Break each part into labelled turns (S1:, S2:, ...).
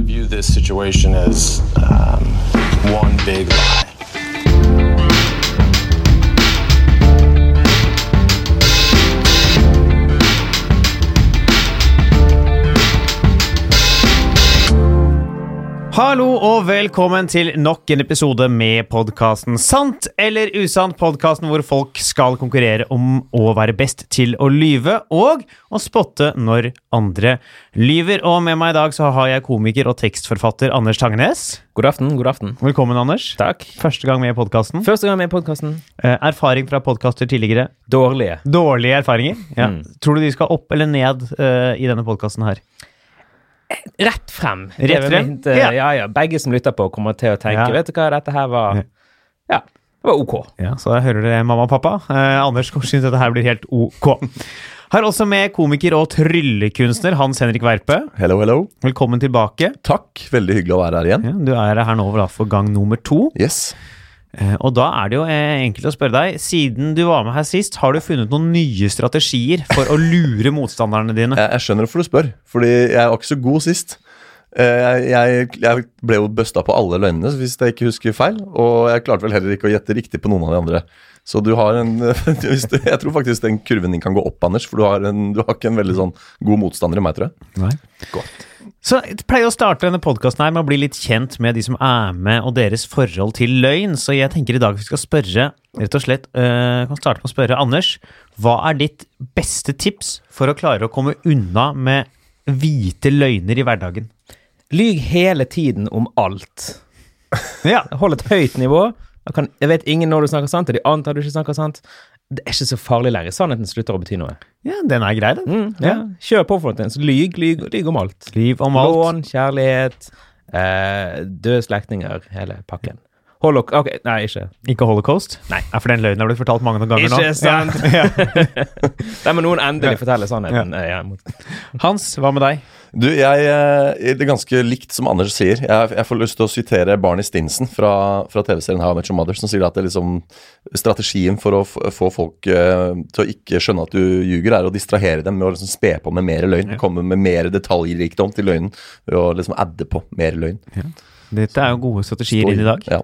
S1: view this situation as um, one big lie.
S2: Hallo og velkommen til nok en episode med podkasten Sant eller usant. Podkasten hvor folk skal konkurrere om å være best til å lyve og å spotte når andre lyver. Og med meg i dag så har jeg komiker og tekstforfatter Anders Tangenes.
S3: God aften, god aften.
S2: Velkommen, Anders.
S3: Takk.
S2: Første gang med i podkasten.
S3: Første gang med i podkasten.
S2: Eh, Erfaring fra podkaster tidligere.
S3: Dårlige.
S2: Dårlige erfaringer. Ja.
S3: Mm.
S2: Tror du de skal opp eller ned eh, i denne podkasten her?
S3: Rett frem.
S2: Rett
S3: Det er vel
S2: frem?
S3: mitt, eh,
S2: Ja.
S3: ja, ja. Begge som lytter på, kommer til å tenke
S2: Ja.
S3: Vet du hva, dette her var Ja, det var ok.
S2: Ja, så da hører dere mamma og pappa. Eh, Anders syns dette her blir helt ok. Har også med komiker og tryllekunstner Hans Henrik Verpe.
S4: Hello, hello.
S2: Velkommen tilbake.
S4: Takk. Veldig hyggelig å være her igjen.
S2: Ja, du er her nå da, for gang nummer to.
S4: Yes.
S2: Eh, og da er det jo eh, enkelt å spørre deg, siden du var med her sist, har du funnet noen nye strategier for å lure motstanderne dine?
S4: Jeg, jeg skjønner hvorfor du spør, fordi jeg var ikke så god sist. Eh, Jeg, jeg, jeg ble jo busta på alle løgnene, hvis jeg ikke husker feil. Og jeg klarte vel heller ikke å gjette riktig på noen av de andre. Så du har en hvis du- Jeg tror faktisk den kurven din kan gå opp, Anders. For du har, en, du har ikke en veldig sånn god motstander i meg, tror jeg.
S2: Nei.
S4: Godt.
S2: Så jeg pleier å starte denne podkasten her med å bli litt kjent med de som er med, og deres forhold til løgn. Så jeg tenker i dag vi skal spørre, rett og slett, øh, kan starte med å spørre Anders. Hva er ditt beste tips for å klare å komme unna med hvite løgner i hverdagen?
S3: Lyg hele tiden om alt.
S2: Ja,
S3: Hold et høyt nivå. Jeg, kan, jeg vet ingen når du snakker sant, og de antar du ikke snakker sant. Det er ikke så farlig lenger. Sannheten slutter å bety noe.
S2: den er grei, den.
S3: Mm, ja. Kjør på for noe. Så lyg, lyg, lyg om alt.
S2: Liv om alt.
S3: Lån, kjærlighet, eh, døde slektninger, hele pakken. Hold dere Ok, nei, ikke.
S2: Ikke holocaust? Nei. Ja, for den løgnen har blitt fortalt mange ganger nå.
S3: Ikke sant?
S2: Ja. Ja.
S3: Der må noen endelig fortelle sannheten. eh, Ja. mot-
S2: Hans, hva med deg?
S4: Du, jeg, eh, det er ganske likt som Anders sier. Jeg, jeg får lyst til å sitere Barney Stinson fra, fra TV-serien How I Met Your Mother, som sier at det er liksom, strategien for å f få folk eh, til å ikke skjønne at du ljuger, er å distrahere dem med å liksom spe på med mer løgn. Komme med mer detaljrikdom til løgnen og liksom adde på mer løgn.
S2: Dette er jo gode strategier inn i dag.
S4: Ja.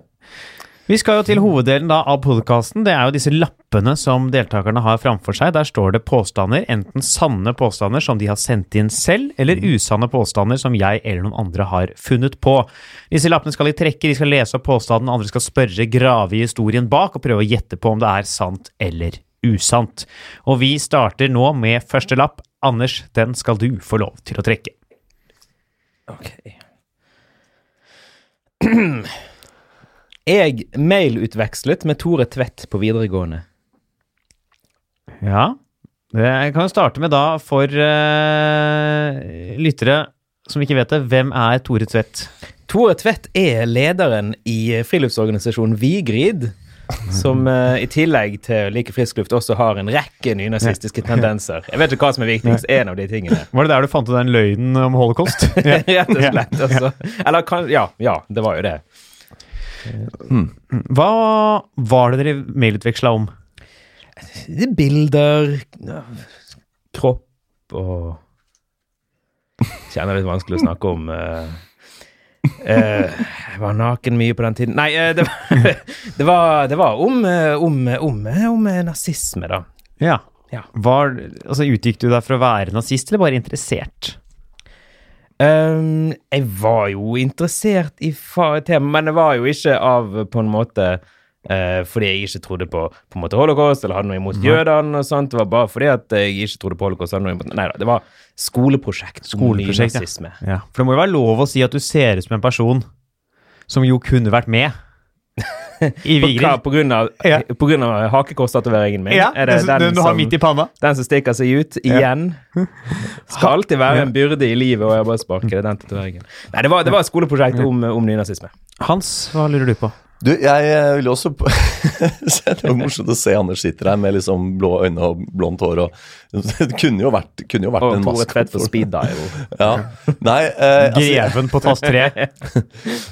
S2: Vi skal jo til hoveddelen da av podkasten. Det er jo disse lappene som deltakerne har framfor seg. Der står det påstander, enten sanne påstander som de har sendt inn selv, eller usanne påstander som jeg eller noen andre har funnet på. Disse lappene skal de trekke, de skal lese opp påstanden, andre skal spørre, grave i historien bak og prøve å gjette på om det er sant eller usant. Og vi starter nå med første lapp. Anders, den skal du få lov til å trekke.
S3: Ok. Jeg mailutvekslet med Tore Tvedt på videregående.
S2: Ja. Det- Jeg kan jo starte med da, for eh, lyttere som ikke vet det, hvem er Tore Tvedt?
S3: Tore Tvedt er lederen i friluftsorganisasjonen Vigrid, som eh, i tillegg til å like frisk luft også har en rekke nynazistiske tendenser. Jeg vet ikke hva som er viktigst, en av de tingene.
S2: Var det der du fant ut den løgnen om holocaust?
S3: Rett og slett, altså. Eller kan Ja, ja, det var jo det.
S2: Hva var det dere mailutveksla om?
S3: Det er Bilder Kropp og Kjenner det er litt vanskelig å snakke om. eh. Eh, jeg var naken mye på den tiden Nei, eh, det, var, det, var, det var om, eh, om, eh, om, eh, om eh, nazisme, da.
S2: Ja.
S3: Ja.
S2: Var, altså, utgikk du der for å være nazist, eller bare interessert?
S3: Um, jeg var jo interessert i fa- temaet, men jeg var jo ikke av eh, på en måte eh, fordi jeg ikke trodde på, på en måte holocaust, eller hadde noe
S2: Mhm.
S3: imot jødene og sånt. Det var bare fordi at jeg ikke trodde på holocaust. Hadde noe imot, nei da, det var skoleprosjekt.
S2: Skoleprosjekt, ja.
S3: ja.
S2: Ja. For det må jo være lov å si at du ser ut som en person som jo kunne vært med i
S3: På, hva,
S2: Vigrid.
S3: på grunn av,
S2: Ja.
S3: på grunn av hakekorsstatueringen min? Er det den, som,
S2: panna.
S3: den som stikker seg ut igjen? Skal alltid være en byrde i livet, og jeg bare sparker det, den tatoveringen. Nei, det var, det var et skoleprosjekt om, om nynazisme.
S2: Hans, hva lurer du på?
S4: Du, jeg eh, vil jo også på- se, Det er jo morsomt å se Anders sitter her med liksom blå øyne og blondt hår og Det kunne jo vært, kunne jo vært
S3: Og
S4: en
S3: Tore Tvedt på
S4: maskot.
S3: speed dial.
S4: Ja. Nei, eh, altså,
S2: Greven på tast tre.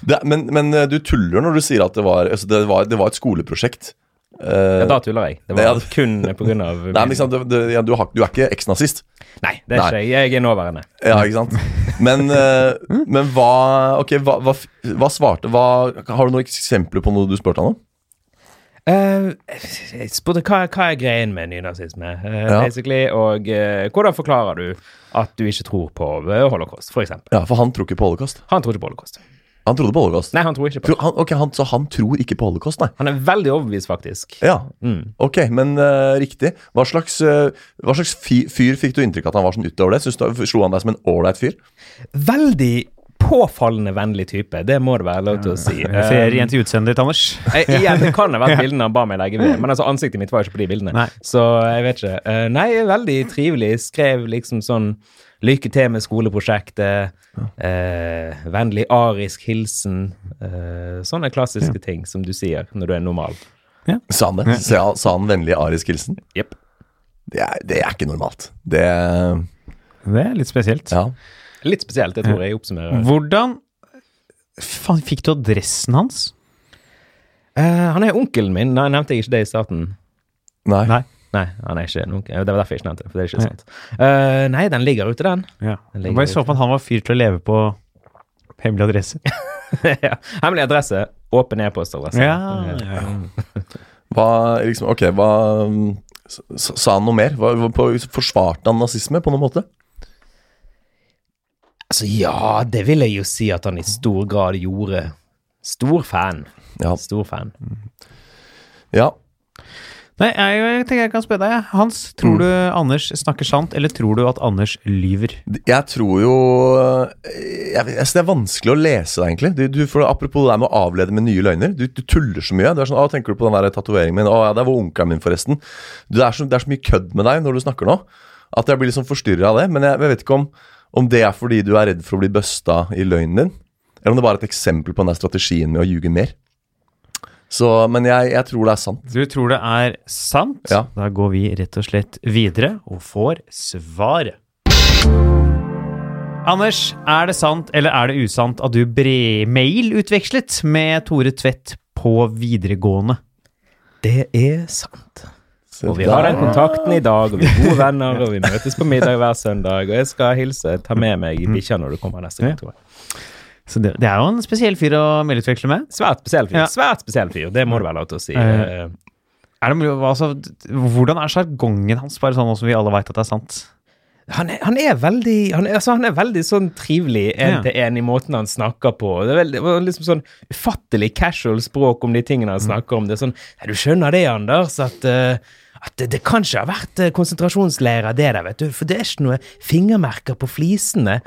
S4: Det, men, men eh, du tuller når du sier at det var, altså det var, det var et skoleprosjekt. Eh,
S3: Ja, da tuller jeg. Det var
S4: Ja, du-
S3: kun pga. Nei,
S4: Nei, men ikke sant, du, du, ja, du, har, du er ikke eksnazist.
S3: Nei, det er
S4: Nei.
S3: ikke jeg. Jeg er nåværende.
S4: Ja, ikke sant? Men, eh, men hva Ok, hva, hva, f- hva svarte hva, Har du noen eksempler på noe du spurte han om?
S3: Eh, jeg spurte hva, hva er greien med nynazisme, eh,
S4: Ja.
S3: basically, og eh, hvordan forklarer du at du ikke tror på eh, holocaust, for eksempel?
S4: Ja, For han tror ikke på holocaust.
S3: Han tror ikke på holocaust.
S4: Han trodde på holocaust.
S3: Nei, han tror ikke på
S4: Tro- Han, ok, han, Så han tror ikke på holocaust, nei?
S3: Han er veldig overbevist, faktisk.
S4: Ja, ok, men eh, riktig. Hva slags, eh, hva slags fi- fyr fikk du inntrykk av at han var sånn utover det? Synes du, slo han deg som en ålreit fyr?
S3: Veldig påfallende vennlig type, det må det være lov til å si.
S2: Refererer igjen til utseendet ditt, Anders.
S3: Eh, igjen, det kan ha vært bildene han ba meg legge ved, men altså ansiktet mitt var jo ikke på de bildene.
S2: Nei.
S3: Så jeg vet ikke. Eh, Nei, veldig trivelig. Skrev liksom sånn Lykke til med skoleprosjektet. Eh, vennlig arisk hilsen. Eh, sånne klassiske ting som du sier når du er normal.
S4: Sa han det? Sa, sa han vennlig arisk hilsen?
S3: Jepp.
S4: Det er, det er ikke normalt. Det
S2: Det er litt spesielt.
S4: Ja.
S3: Litt spesielt, det tror jeg
S2: Mm.
S3: oppsummerer.
S2: Hvordan Faen, fikk du adressen hans?
S3: Eh, han er onkelen min. Nei, nevnte jeg ikke det i starten?
S4: Nei.
S2: Nei.
S3: Nei, han er ikke en onkel. Det var derfor jeg ikke nevnte det. for det er ikke sant. Eh, nei, den ligger ute, den.
S2: Ja.
S3: Den
S2: Jeg
S3: ligger
S2: bare så for meg at han var fyr til å leve på hemmelig adresse.
S3: ja. Hemmelig adresse. Åpen e-postadresse. Eh,
S4: Hva liksom Ok, hva mm, s- s- Sa han noe mer? Hva, hva- på, forsvarte han nazisme på noen måte?
S3: Altså, ja, det vil jeg jo si at han i stor grad gjorde. Stor fan.
S4: Ja.
S3: Stor fan.
S4: ja.
S2: Nei, jeg, jeg tenker jeg kan spørre deg. jeg. Hans, tror du Anders snakker sant, eller tror du at Anders lyver?
S4: Jeg tror jo jeg, vet- altså Det er vanskelig å lese det, egentlig. Du, du, for Apropos det der med å avlede med nye løgner. Du, du tuller så mye. Du er sånn, å, 'Tenker du på den der tatoveringen min?' 'Å ja, der var onkelen min, forresten.' Du, det, er så, det er så mye kødd med deg når du snakker nå, at jeg blir liksom forstyrra av det. Men jeg, jeg vet ikke om, om det er fordi du er redd for å bli busta i løgnen din, eller om det bare er et eksempel på den der strategien med å ljuge mer. Så, men jeg, jeg tror det er sant.
S2: Du tror det er sant?
S4: Ja.
S2: Da går vi rett og slett videre og får svaret. Anders, er det sant eller er det usant at du bre-mail utvekslet med Tore Tvedt på videregående?
S3: Det er sant.
S4: Så
S3: Og vi har
S4: der-
S3: den kontakten i dag, og vi er gode venner, og vi møtes på middag hver søndag. Og jeg skal hilse, ta med meg bikkja når du kommer neste gang. tror jeg.
S2: Så det, det er jo en spesiell fyr å mailutveksle med.
S3: Svært spesiell fyr.
S2: Ja.
S3: Svært spesiell fyr, det må det være lov til å si.
S2: Eh.
S3: Eh,
S2: Er det, mulig- altså, hvordan er sjargongen hans, bare sånn nå som vi alle veit at det er sant?
S3: Han er, han er veldig han er, altså, han er veldig sånn trivelig
S2: Ja.
S3: én-til-én i måten han snakker på. Det er veldig, det var liksom sånn ufattelig casual språk om de tingene
S2: Mm.
S3: han snakker om. Det er sånn Nei, du skjønner det, Anders, at, eh, at det, det kan ikke ha vært eh, konsentrasjonsleirer, det der, vet du. For det er ikke noe fingermerker på flisene.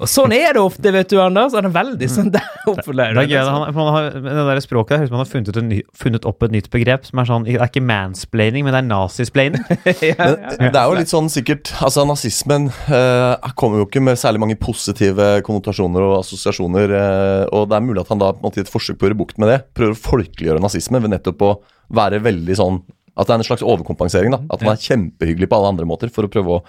S3: Og sånn er det ofte, vet du, Anders. Han er
S2: Mm.
S3: veldig sånn der oppe der.
S2: Det er gøy, at han, man har, med det der språket der, høres ut som man har funnet, ut en ny, funnet opp et nytt begrep som er sånn Det er ikke mansplaining, men det er nazisplaining.
S4: Men det er jo litt sånn sikkert Altså Nazismen eh, kommer jo ikke med særlig mange positive konnotasjoner og assosiasjoner. eh, og det er mulig at han da på en måte, i et forsøk på å gjøre bukt med det prøver å folkeliggjøre nazismen ved nettopp å være veldig sånn At det er en slags overkompensering. da At man er kjempehyggelig på alle andre måter for å prøve å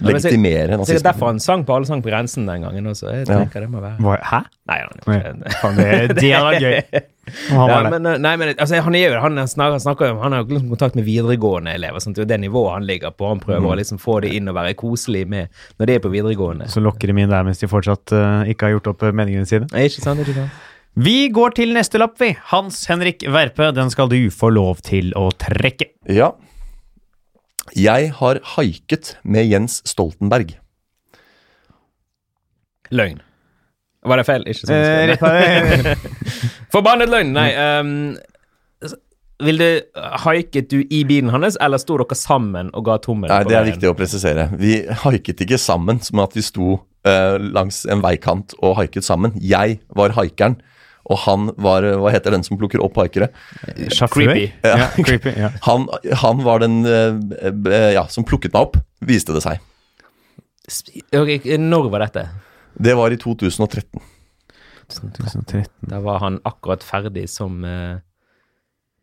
S3: men så-
S4: legitimere
S3: Så det er
S4: nazismen.
S3: derfor han sang på Alle sang på grensen den gangen også. Jeg tenker det må være
S2: Hva- Hæ?
S3: Nei, han er
S2: Oi,
S3: ikke
S2: faen, det, det hadde vært gøy. Om han var
S3: ja,
S2: der.
S3: men, eh, nei, men altså, han er jo han er snak- han snakker jo om Han har jo liksom kontakt med videregående elever. Sant? Det er jo det nivået han ligger på. Han prøver å liksom få det inn og være koselig med når de er på videregående.
S2: Så lokker de inn der mens de fortsatt eh, ikke har gjort opp eh, meningene sine.
S3: Nei, Ikke sant? Ikke sant?
S2: Vi går til neste lapp, vi. Hans Henrik Verpe, den skal du få lov til å trekke.
S4: Ja. Jeg har haiket med Jens Stoltenberg.
S3: Løgn. Var det feil? Ikke sånn.
S2: Eh,
S3: jeg
S2: rett av det.
S3: skrev. Forbannet løgn! Nei. ehm, s- vil du Haiket du i bilen hans, eller sto dere sammen og ga tommelen?
S4: Nei,
S3: på
S4: Det er
S3: veien?
S4: viktig å presisere. Vi haiket ikke sammen, som at vi sto eh, langs en veikant og haiket sammen. Jeg var haikeren, og han var eh, Hva heter den som plukker opp haikere?
S2: Sjåfør?
S3: Creepy.
S2: Ja, creepy. Ja.
S4: Han, han var den eh, eh, ja, som plukket meg opp, viste det seg.
S3: Sp- ok, Når var dette?
S4: Det var i 2013.
S2: 2013.
S3: Da var han akkurat ferdig som eh,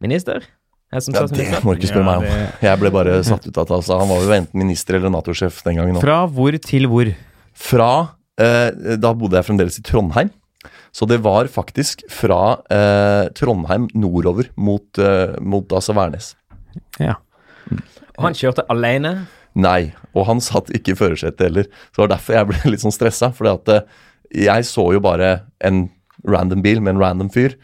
S3: minister? Jeg som
S4: Ja, det
S3: statsminister?
S4: må du ikke spørre meg om. Jeg ble bare satt ut av det. Altså. Han var jo enten minister eller Nato-sjef den gangen òg.
S2: Fra hvor til hvor?
S4: fra eh, Da bodde jeg fremdeles i Trondheim. Så det var faktisk fra eh, Trondheim nordover mot, eh, mot altså Værnes.
S2: Ja.
S3: Og han kjørte alene.
S4: Nei, og han satt ikke i førersetet heller. Så det var derfor jeg ble litt sånn stressa. For eh, jeg så jo bare en random bil med en random fyr.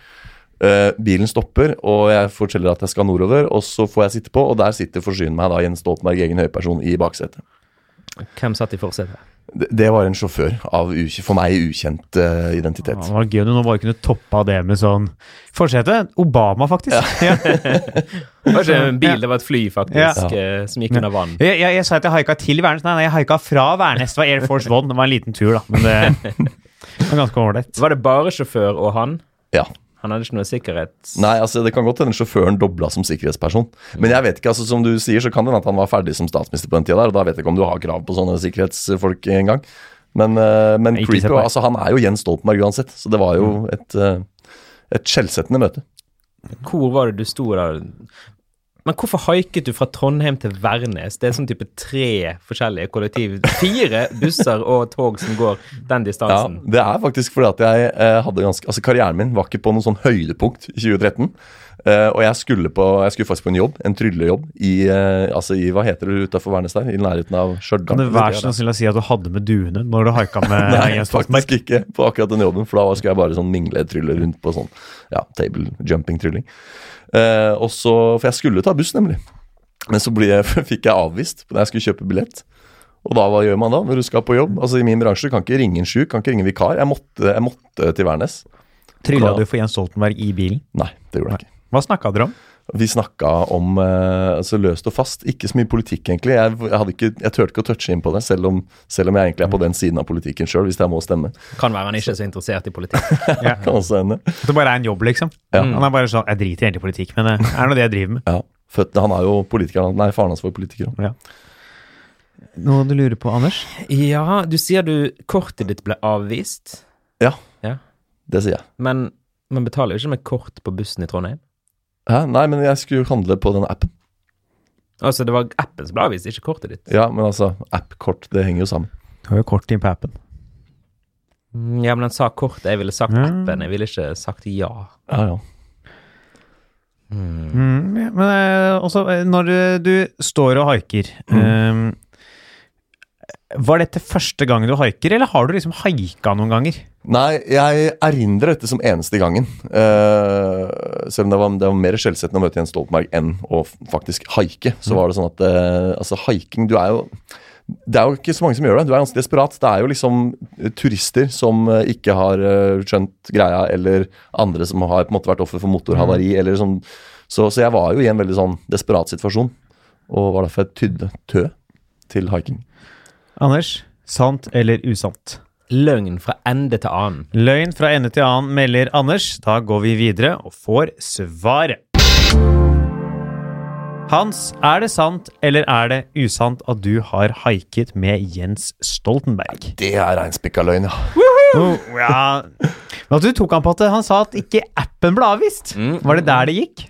S4: Eh, bilen stopper, og jeg forteller at jeg skal nordover. Og så får jeg sitte på, og der sitter forsyn meg da Jens Stoltenberg, egen høyperson, i baksetet.
S3: Hvem satt i forsetet?
S4: Det, det var en sjåfør av ukj- for meg ukjent eh, identitet.
S2: Det var gøy om du nå bare kunne toppa det med sånn Fortsette? Obama, faktisk. Ja.
S3: Det var ikke en bil, det var et fly, faktisk, eh, som gikk under vann.
S2: Jeg, jeg, jeg sa at jeg haika til Værnes. Nei, nei, jeg haika fra Værnes. Det var Air Force One. Det var en liten tur, da. Men det var ganske ålreit.
S3: Var det bare sjåfør og han?
S4: Ja.
S3: Han hadde ikke noe sikkerhets...
S4: Nei, altså Det kan godt hende sjåføren dobla som sikkerhetsperson. Men jeg vet ikke, altså som du sier, så kan det hende at han var ferdig som statsminister på den tida der, og da vet jeg ikke om du har krav på sånne sikkerhetsfolk engang. Men, eh, men
S2: Ikke
S4: Creepy
S2: sett meg. Mm.
S4: altså, han er jo Jens Stoltenberg uansett, så det var jo et, eh, et skjellsettende møte.
S3: Hvor var det du sto da? Men hvorfor haiket du fra Trondheim til Værnes? Det er sånn type tre forskjellige kollektiv. Fire busser og tog som går den
S4: Ja,
S3: distansen.
S4: det er faktisk fordi at jeg eh, hadde ganske Altså, karrieren min var ikke på noen sånn høydepunkt i 2013. eh, og jeg skulle, på, jeg skulle faktisk på en jobb, en tryllejobb, i, eh, altså i hva heter det utafor Værnes der? I nærheten av Stjørdal.
S2: Kan du være så snill å si at du hadde med duene når du haika med
S4: Nei,
S2: Jens Stoltenberg?
S4: faktisk ikke på akkurat den jobben, for da skulle jeg bare sånn mingletrylle rundt på sånn ja, table jumping-trylling. Eh, og så, For jeg skulle ta buss, nemlig. Men så ble jeg, fikk jeg avvist da jeg skulle kjøpe billett. Og da, hva gjør man da når du skal på jobb? Altså I min bransje kan ikke ringe en sjuk, kan ikke ringe en vikar. Jeg måtte, jeg måtte til Værnes.
S2: Trylla du for Jens Stoltenberg i bilen?
S4: Nei, det gjorde jeg ikke.
S2: Hva snakka dere om?
S4: Vi snakka om eh, altså løst og fast. Ikke så mye politikk, egentlig. Jeg, jeg, hadde ikke, jeg turte ikke å touche inn på det, selv om, selv om jeg egentlig er på den siden av politikken sjøl, hvis jeg må stemme.
S3: Kan være han ikke er så interessert i politikk.
S2: Ja.
S4: Kan også hende.
S2: At det bare er en jobb, liksom? Han er bare sånn Jeg driter egentlig i politikk, men eh, det er nå det jeg driver med.
S4: Ja. Født, han er jo politiker. han- Nei, faren hans var politiker. også.
S2: Ja. Noe du lurer på, Anders?
S3: Ja, du sier du kortet ditt ble avvist,
S4: Ja,
S3: Ja.
S4: det sier jeg.
S3: men man betaler jo ikke med kort på bussen i Trondheim.
S4: Hæ? Nei, men jeg skulle jo handle på den appen.
S3: Altså, det var appen som ble avvist, ikke kortet ditt.
S4: Ja, men altså, app-kort, det henger jo sammen.
S2: Du har jo kort inn på appen.
S3: Mm, Ja, men han sa kortet. Jeg ville sagt
S2: Ja.
S3: appen. Jeg ville ikke sagt ja.
S4: Ja, ja.
S2: Mm, ja, men eh, også, eh, når eh, du står og haiker Mm. eh, Var dette første gangen du haiker, eller har du liksom haika noen ganger?
S4: Nei, jeg erindrer dette som eneste gangen. Eh, selv om det var, det var mer skjellsettende å møte Jens Stoltenberg enn å f- faktisk haike. Så var det sånn at eh, Altså, haiking, du er jo det er jo ikke så mange som gjør det. Du er ganske desperat. Det er jo liksom eh, turister som eh, ikke har eh, skjønt greia, eller andre som har på en måte vært offer for motorhavari. Eller sånn. så, så jeg var jo i en veldig sånn desperat situasjon, og var derfor jeg tydde tø til haiking.
S2: Anders, sant eller usant?
S3: Løgn fra ende til annen.
S2: Løgn fra ende til annen melder Anders. Da går vi videre og får svaret. Hans, er det sant eller er det usant at du har haiket med Jens Stoltenberg?
S4: Det er reinspikka løgn, ja.
S2: Oh, ja. Men at du tok han på at han sa at ikke appen ble avvist. Var det der det gikk?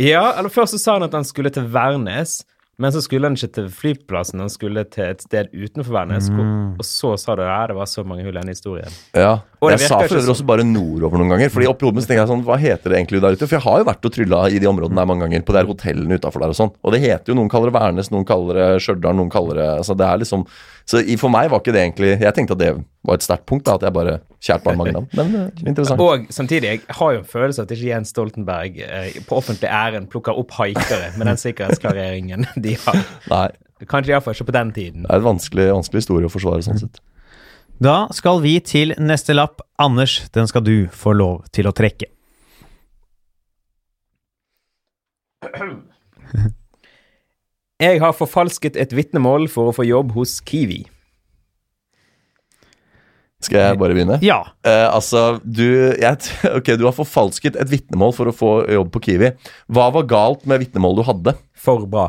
S3: Ja, eller først så sa han at han skulle til Værnes, men så skulle han ikke til flyplassen, han skulle til et sted utenfor Værnes,
S2: Mm.
S3: hvor- og så sa du at det var så mange hull i den historien.
S4: ja.
S3: Og det
S4: Jeg
S3: virker
S4: sa for
S3: ikke
S4: øvrig også bare nordover noen ganger. Fordi oppi hodet mitt så tenker jeg sånn, hva heter det egentlig der ute? For jeg har jo vært og trylla i de områdene der mange ganger, på de her hotellene utafor der og sånn. Og det heter jo noen kaller det Værnes, noen kaller det Stjørdal, noen kaller det Altså det er liksom Så i- for meg var ikke det egentlig Jeg tenkte at det var et sterkt punkt, da, at jeg bare Kjært barn mange navn. Men eh, interessant.
S3: Og samtidig, jeg har jo en følelse at ikke Jens Stoltenberg eh, på offentlig æren plukker opp haikere med den sikkerhetsklareringen de har.
S4: Nei,
S3: Kanskje iallfall ikke på den tiden.
S4: det er en vanskelig, vanskelig historie å forsvare sånn sett.
S2: Da skal vi til neste lapp. Anders, den skal du få lov til å trekke.
S3: Jeg har forfalsket et vitnemål for å få jobb hos Kiwi.
S4: Skal jeg bare begynne?
S2: Ja.
S4: Eh, altså, du jeg, t- Ok, du har forfalsket et vitnemål for å få jobb på Kiwi. Hva var galt med vitnemålet du hadde?
S3: For bra.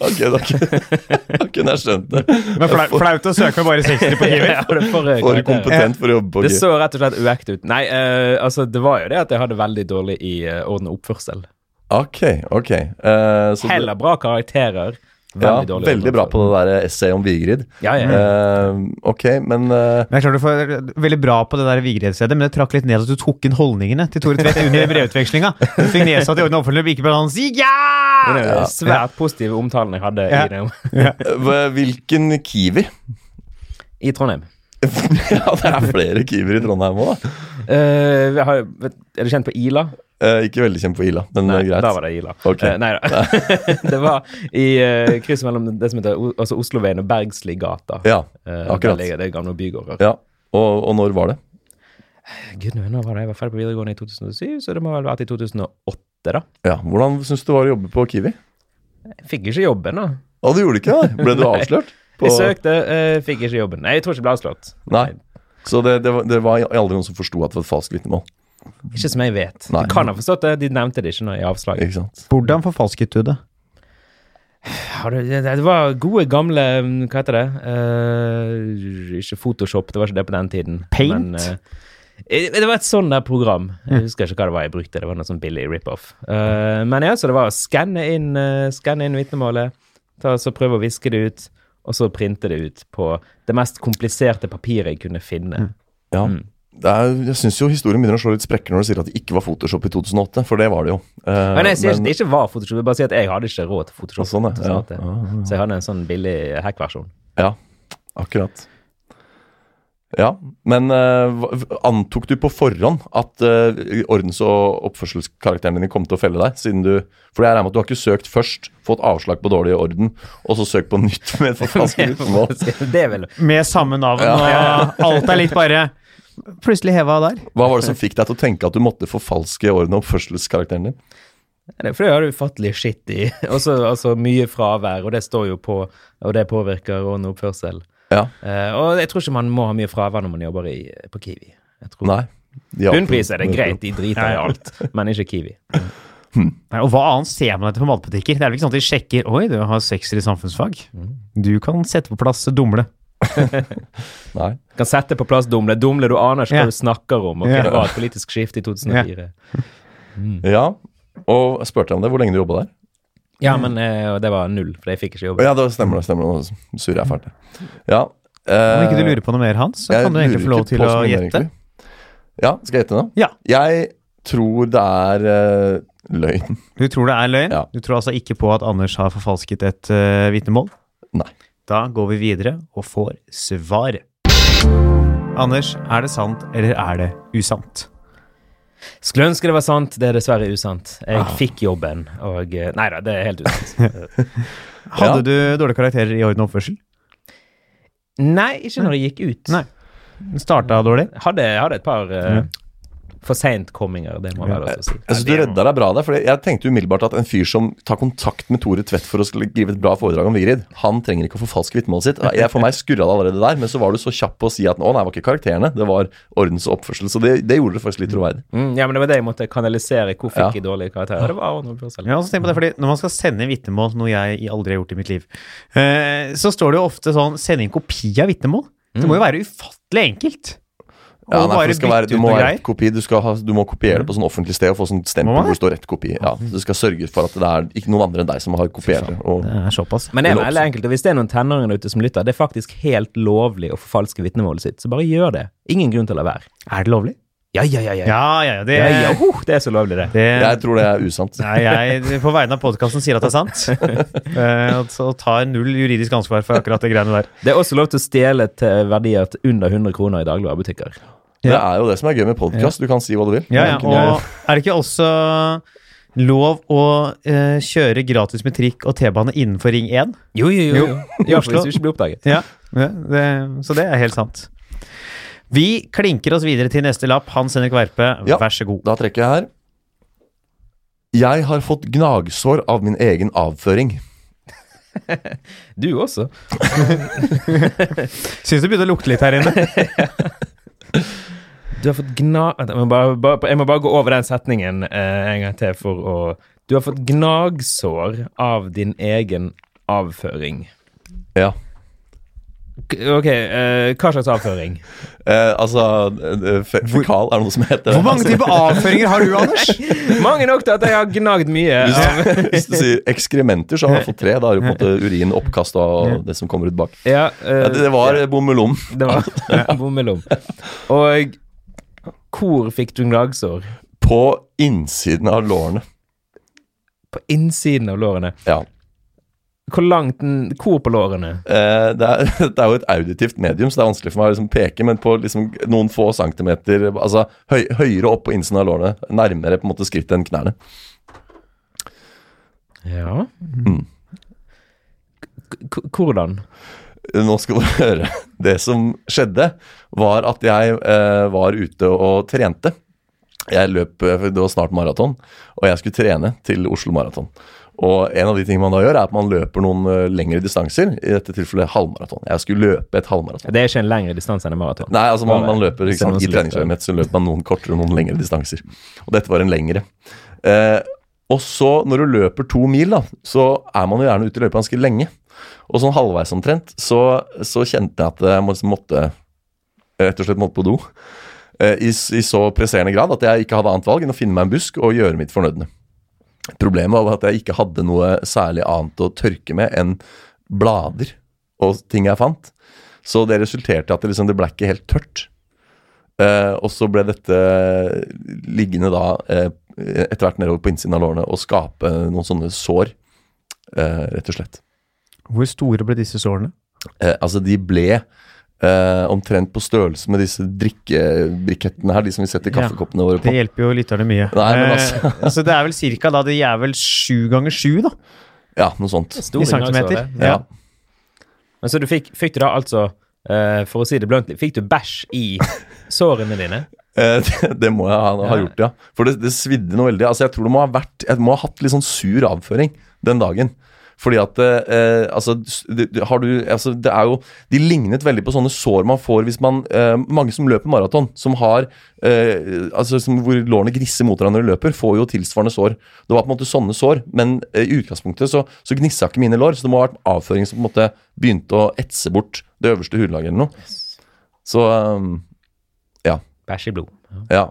S4: Ok, da da kunne jeg skjønt det.
S2: Men flau- flaut å søke med bare 60 på Kiwi.
S3: Ja, det er for, eh,
S4: For
S3: karakterer.
S4: kompetent for å jobbe på
S3: Det
S4: Kiwi.
S3: så rett og slett uekte ut. Nei, eh, altså, det var jo det at jeg hadde veldig dårlig i eh, orden og oppførsel.
S4: Ok, ok. Eh, så du-
S3: Heller bra karakterer
S4: Ja,
S3: Veldig dårlig Mm.
S4: veldig bra på det der essayet om Vigrid.
S3: Ja, ja.
S4: Eh, ok, men eh,
S2: Men jeg er klar du får veldig bra på det der Vigred-stedet, men det trakk litt ned at du tok inn holdningene til Tore Tvedt under brevutvekslinga. Du fikk nedsatt i orden offentlig, men ikke bare han si
S3: Det
S2: ja!
S3: er jo svært positive omtalen jeg hadde
S2: Ja.
S3: i, det,
S4: hva- hvilken Kiwi?
S3: i Trondheim.
S4: ja, det er flere Kiwier i Trondheim òg, da.
S3: Eh, vi har, jo- vet, er du kjent på Ila?
S4: Eh, ikke veldig kjent på Ila, men eh, greit.
S3: Da var det Ila.
S4: Ok.
S3: Eh, nei da. det var i eh, krysset mellom det som heter O- altså Osloveien og Bergsligata.
S4: Ja,
S3: Eh,
S4: akkurat.
S3: Der ligger det gamle bygårder.
S4: Ja. Og, og når var det?
S3: Gud, nå når var det? Jeg var ferdig på videregående i 2007, så det må vel ha vært i 2008, da.
S4: Ja, Hvordan syns du det var å jobbe på Kiwi?
S3: Jeg fikk ikke jobben, da.
S4: Å, du gjorde ikke det? Ble du
S3: Nei.
S4: avslørt?
S3: Jeg søkte, eh, fikk ikke jobben. Nei, jeg tror ikke jeg ble avslått.
S4: Nei. Så det, det, var, det var aldri noen som forsto at det var et falskt vitnemål.
S3: Ikke som jeg vet.
S4: Nei.
S3: De kan ha forstått det, de nevnte det ikke nå i avslaget.
S4: Ikke sant?
S2: Hvordan forfalsket du det?
S3: Ja, det, det det var gode gamle mm, Hva heter det? Eh, ikke Photoshop, det var ikke det på den tiden.
S2: Paint?
S3: eh, eh, det var et sånn der program. Jeg husker ikke hva det var jeg brukte. Det var noe sånn billig rip-off. Eh, men ja, så det var å skanne inn, eh, skanne inn vitnemålet, ta, så prøve å viske det ut, og så printe det ut på det mest kompliserte papiret jeg kunne finne.
S4: Ja.
S3: Mm.
S4: Det er, jeg syns jo historien begynner å slå litt sprekker når du sier at det ikke var Photoshop i 2008, for det var det jo. Eh,
S3: Men jeg sier ikke
S4: men-
S3: det ikke var Photoshop, jeg bare sier at jeg hadde ikke råd til Photoshop.
S4: Sånn, ja.
S3: til sånt,
S4: Ja.
S3: det. Så jeg hadde en sånn billig hack-versjon.
S4: Ja, akkurat. Ja, men eh, hva- antok du på forhånd at eh, ordens- og oppførselskarakteren din kom til å felle deg? Siden du, for jeg regner med at du har ikke søkt først, fått avslag på dårlig orden, og så søkt på nytt med et forfalsket vitnemål.
S3: det er vel
S2: Med samme navn, og alt er litt bare Plutselig heva der.
S4: Hva var det som fikk deg til å tenke at du måtte forfalske orden- og oppførselskarakteren din?
S3: Nei, For det har du ufattelig skitt i. Også, altså mye fravær, og det står jo på, og det påvirker ånd og oppførsel.
S4: Ja,
S3: Eh, og jeg tror ikke man må ha mye fravær når man jobber i, på Kiwi. Jeg tror.
S4: nei. De har-
S3: Bunnpris er det greit, de driter i alt, men ikke Kiwi.
S2: Nei, og hva annet ser man etter på matbutikker? Det er vel ikke sånn at de sjekker Oi, du har sekser i samfunnsfag. Mm. Du kan sette på plass dumle.
S4: Nei.
S3: Kan sette på plass dumle. Dumle, du aner ikke
S2: Ja.
S3: hva du snakker om. Ok,
S2: Ja.
S3: Det var et politisk skifte i 2004.
S4: Ja, og jeg spurte om det. Hvor lenge du jobba der?
S3: Ja, men eh, og det var null, for jeg fikk ikke jobben.
S4: Ja, det stemmer det. stemmer det. Nå surrer jeg fælt. Ja.
S2: Om
S4: eh,
S2: ikke du lurer på noe mer, Hans, så
S4: jeg
S2: kan du egentlig
S4: lurer
S2: få lov
S4: ikke
S2: til
S4: på
S2: å
S4: så mye mer,
S2: gjette.
S4: egentlig. Ja, skal jeg gjette nå?
S2: Ja.
S4: Jeg tror det er eh, løgn.
S2: Du tror det er løgn?
S4: Ja.
S2: Du tror altså ikke på at Anders har forfalsket et uh, vitnemål?
S4: Nei.
S2: Da går vi videre og får svar. Anders, er det sant eller er det usant?
S3: Skulle ønske det var sant, det er dessverre usant. Jeg fikk jobben, og eh, Nei da, det er helt usant. Eh,
S2: Hadde du dårlige karakterer i orden og oppførsel?
S3: nei, ikke når jeg gikk ut.
S2: Nei. Starta dårlig?
S3: Hadde, hadde et par eh, for seint komminger, det må være lov til å si.
S4: Jeg synes du redda deg bra der, for jeg tenkte umiddelbart at en fyr som tar kontakt med Tore Tvedt for å skulle skrive et bra foredrag om Vigrid, han trenger ikke å forfalske vitnemålet sitt. Jeg For meg skurra det allerede der, men så var du så kjapp på å si at å nei, det var ikke karakterene, det var ordens og oppførsel. Så det, det gjorde det faktisk litt troverdig.
S3: Mm, ja, men det var det jeg måtte kanalisere. Hvor
S4: Ja.
S3: fikk jeg dårlige karakterer? Det var Arnold Børsel.
S2: Ja, og så tenk på det, fordi Når man skal sende vitnemål, noe jeg aldri har gjort i mitt liv, eh, så står det jo ofte sånn 'sende inn kopi av vitnemål'. Det
S4: Mm.
S2: må jo være ufattelig enkelt. Og
S4: Ja, nei, for
S2: bare
S4: det skal
S2: bytte
S4: være,
S2: ut
S4: du, må
S2: noe
S4: være
S2: greier. Mm.
S4: et kopi, du, skal ha, du må kopiere det på sånn offentlig sted og få sånn stempel
S2: Må man
S4: hvor det
S2: det? Mm.
S4: står rett kopi. Ja, Du skal sørge for at det er ikke noen andre enn deg som har kopiert det. Og,
S2: Det er såpass.
S3: Men det er
S4: Det er
S3: veldig
S4: lov.
S3: enkelt, og hvis det er noen tenåringer der ute som lytter, det er faktisk helt lovlig å forfalske vitnemålet sitt, så bare gjør det. Ingen grunn til å la være.
S2: Er det lovlig?
S3: Ja, ja, ja. ja.
S2: Ja, ja, ja. Det,
S3: ja, ja. huh, det er så lovlig, det.
S2: det
S4: jeg tror det er usant.
S2: Nei, jeg på vegne av podkasten sier at det er sant. Eh, og så tar jeg null juridisk ansvar for akkurat det greiene der.
S3: Det er også lov til å stjele til verdier til under 100 kroner i dagligvarebutikker.
S4: Det er jo det som er gøy med podkast. Du kan si hva du vil.
S2: Ja, ja,
S4: Man kan jo-
S2: og er det ikke også lov å eh, kjøre gratis med trikk og T-bane innenfor Ring 1?
S3: Jo, jo, jo.
S2: I
S3: Ja, for
S2: Oslo.
S3: hvis du ikke blir oppdaget.
S2: Ja, det, Så det er helt sant. Vi klinker oss videre til neste lapp. Hans Henrik Verpe,
S4: Ja.
S2: vær så god.
S4: Da trekker jeg her. Jeg har fått gnagsår av min egen avføring.
S3: Du også.
S2: Syns det begynte å lukte litt her inne.
S3: Du har fått gna... Vent, Jeg må bare, bare, jeg må bare gå over den setningen eh, en gang til for å Du har fått gnagsår av din egen avføring.
S4: Ja.
S3: K- Ok, eh, hva slags avføring?
S4: Eh, altså, eh, fe fekal er det noe som heter
S2: Hvor mange
S4: det.
S2: typer avføringer har du, Anders?
S3: Mange nok til at jeg har gnagd mye. av-
S4: Altså, hvis du sier ekskrementer, så har du fått tre. Da har du på en måte urin, oppkast og det som kommer ut bak.
S3: Ja, eh,
S4: Ja, det, det var bommelom.
S3: det var bommelom. Og hvor fikk du gnagsår?
S4: På innsiden av lårene.
S3: På innsiden av lårene.
S4: Ja.
S3: Hvor langt n- Hvor på lårene?
S4: Eh, det, er, det er jo et auditivt medium, så det er vanskelig for meg å liksom peke, men på liksom noen få centimeter Altså høy, høyere opp på innsiden av lårene. Nærmere på en måte skrittet enn knærne.
S3: Ja K- k- Hvordan?
S4: Nå skal du høre. Det som skjedde, var at jeg eh, var ute og trente. Jeg løp, eh, Det var snart maraton, og jeg skulle trene til Oslo Maraton. Og en av de tingene man da gjør, er at man løper noen eh, lengre distanser. I dette tilfellet halvmaraton. Jeg skulle løpe et halvmaraton.
S3: Det er ikke en lengre distanse enn en maraton.
S4: Nei, altså man, man løper
S3: Hvis det er
S4: ikke sant,
S3: noen
S4: i
S3: som lytter.
S4: treningsøyemed, så løper man noen kortere og noen lengre distanser. Og dette var en lengre. Eh, og så, når du løper to mil, da, så er man jo gjerne ute i løypa ganske lenge. Og sånn halvveis omtrent, så, så kjente jeg at jeg må- liksom måtte rett og slett måtte på do. Eh, i, s- I så presserende grad at jeg ikke hadde annet valg enn å finne meg en busk og gjøre mitt fornødne. Problemet var at jeg ikke hadde noe særlig annet å tørke med enn blader og ting jeg fant. Så det resulterte i at det, liksom, det ble ikke helt tørt. Eh, og så ble dette liggende da eh, etter hvert nedover på innsiden av lårene og skape noen sånne sår, eh, rett og slett.
S2: Hvor store ble disse sårene?
S4: Eh, altså, de ble eh, omtrent på størrelse med disse drikkebrikettene her, de som vi setter
S2: Ja,
S4: kaffekoppene våre
S2: Det
S4: på.
S2: hjelper jo lytterne mye.
S4: Nei, men altså.
S2: Eh, altså, det er vel cirka da, det er vel sju ganger sju, da.
S4: Ja, noe sånt.
S3: Store
S2: I centimeter.
S3: gnagsår, det.
S2: Ja.
S4: Ja.
S3: Men så du fikk, fikk du da altså, eh, for å si det bluntly, fikk du bæsj i sårene dine?
S4: Eh, det, det må jeg ha, ha
S3: Ja.
S4: gjort, ja. For det, det svidde noe veldig. Altså, jeg tror det må ha vært Jeg må ha hatt litt sånn sur avføring den dagen. Fordi at eh, Altså, s- du- du- har du Altså, det er jo De lignet veldig på sånne sår man får hvis man eh, Mange som løper maraton, som har eh, Altså som, hvor lårene gnisser mot hverandre når de løper, får jo tilsvarende sår. Det var på en måte sånne sår, men eh, i utgangspunktet så, så gnissa ikke mine lår, så det må ha vært avføring som på en måte begynte å etse bort det øverste hudlaget eller noe. Så eh,
S3: Bæsj i blod. Ja.
S4: ja.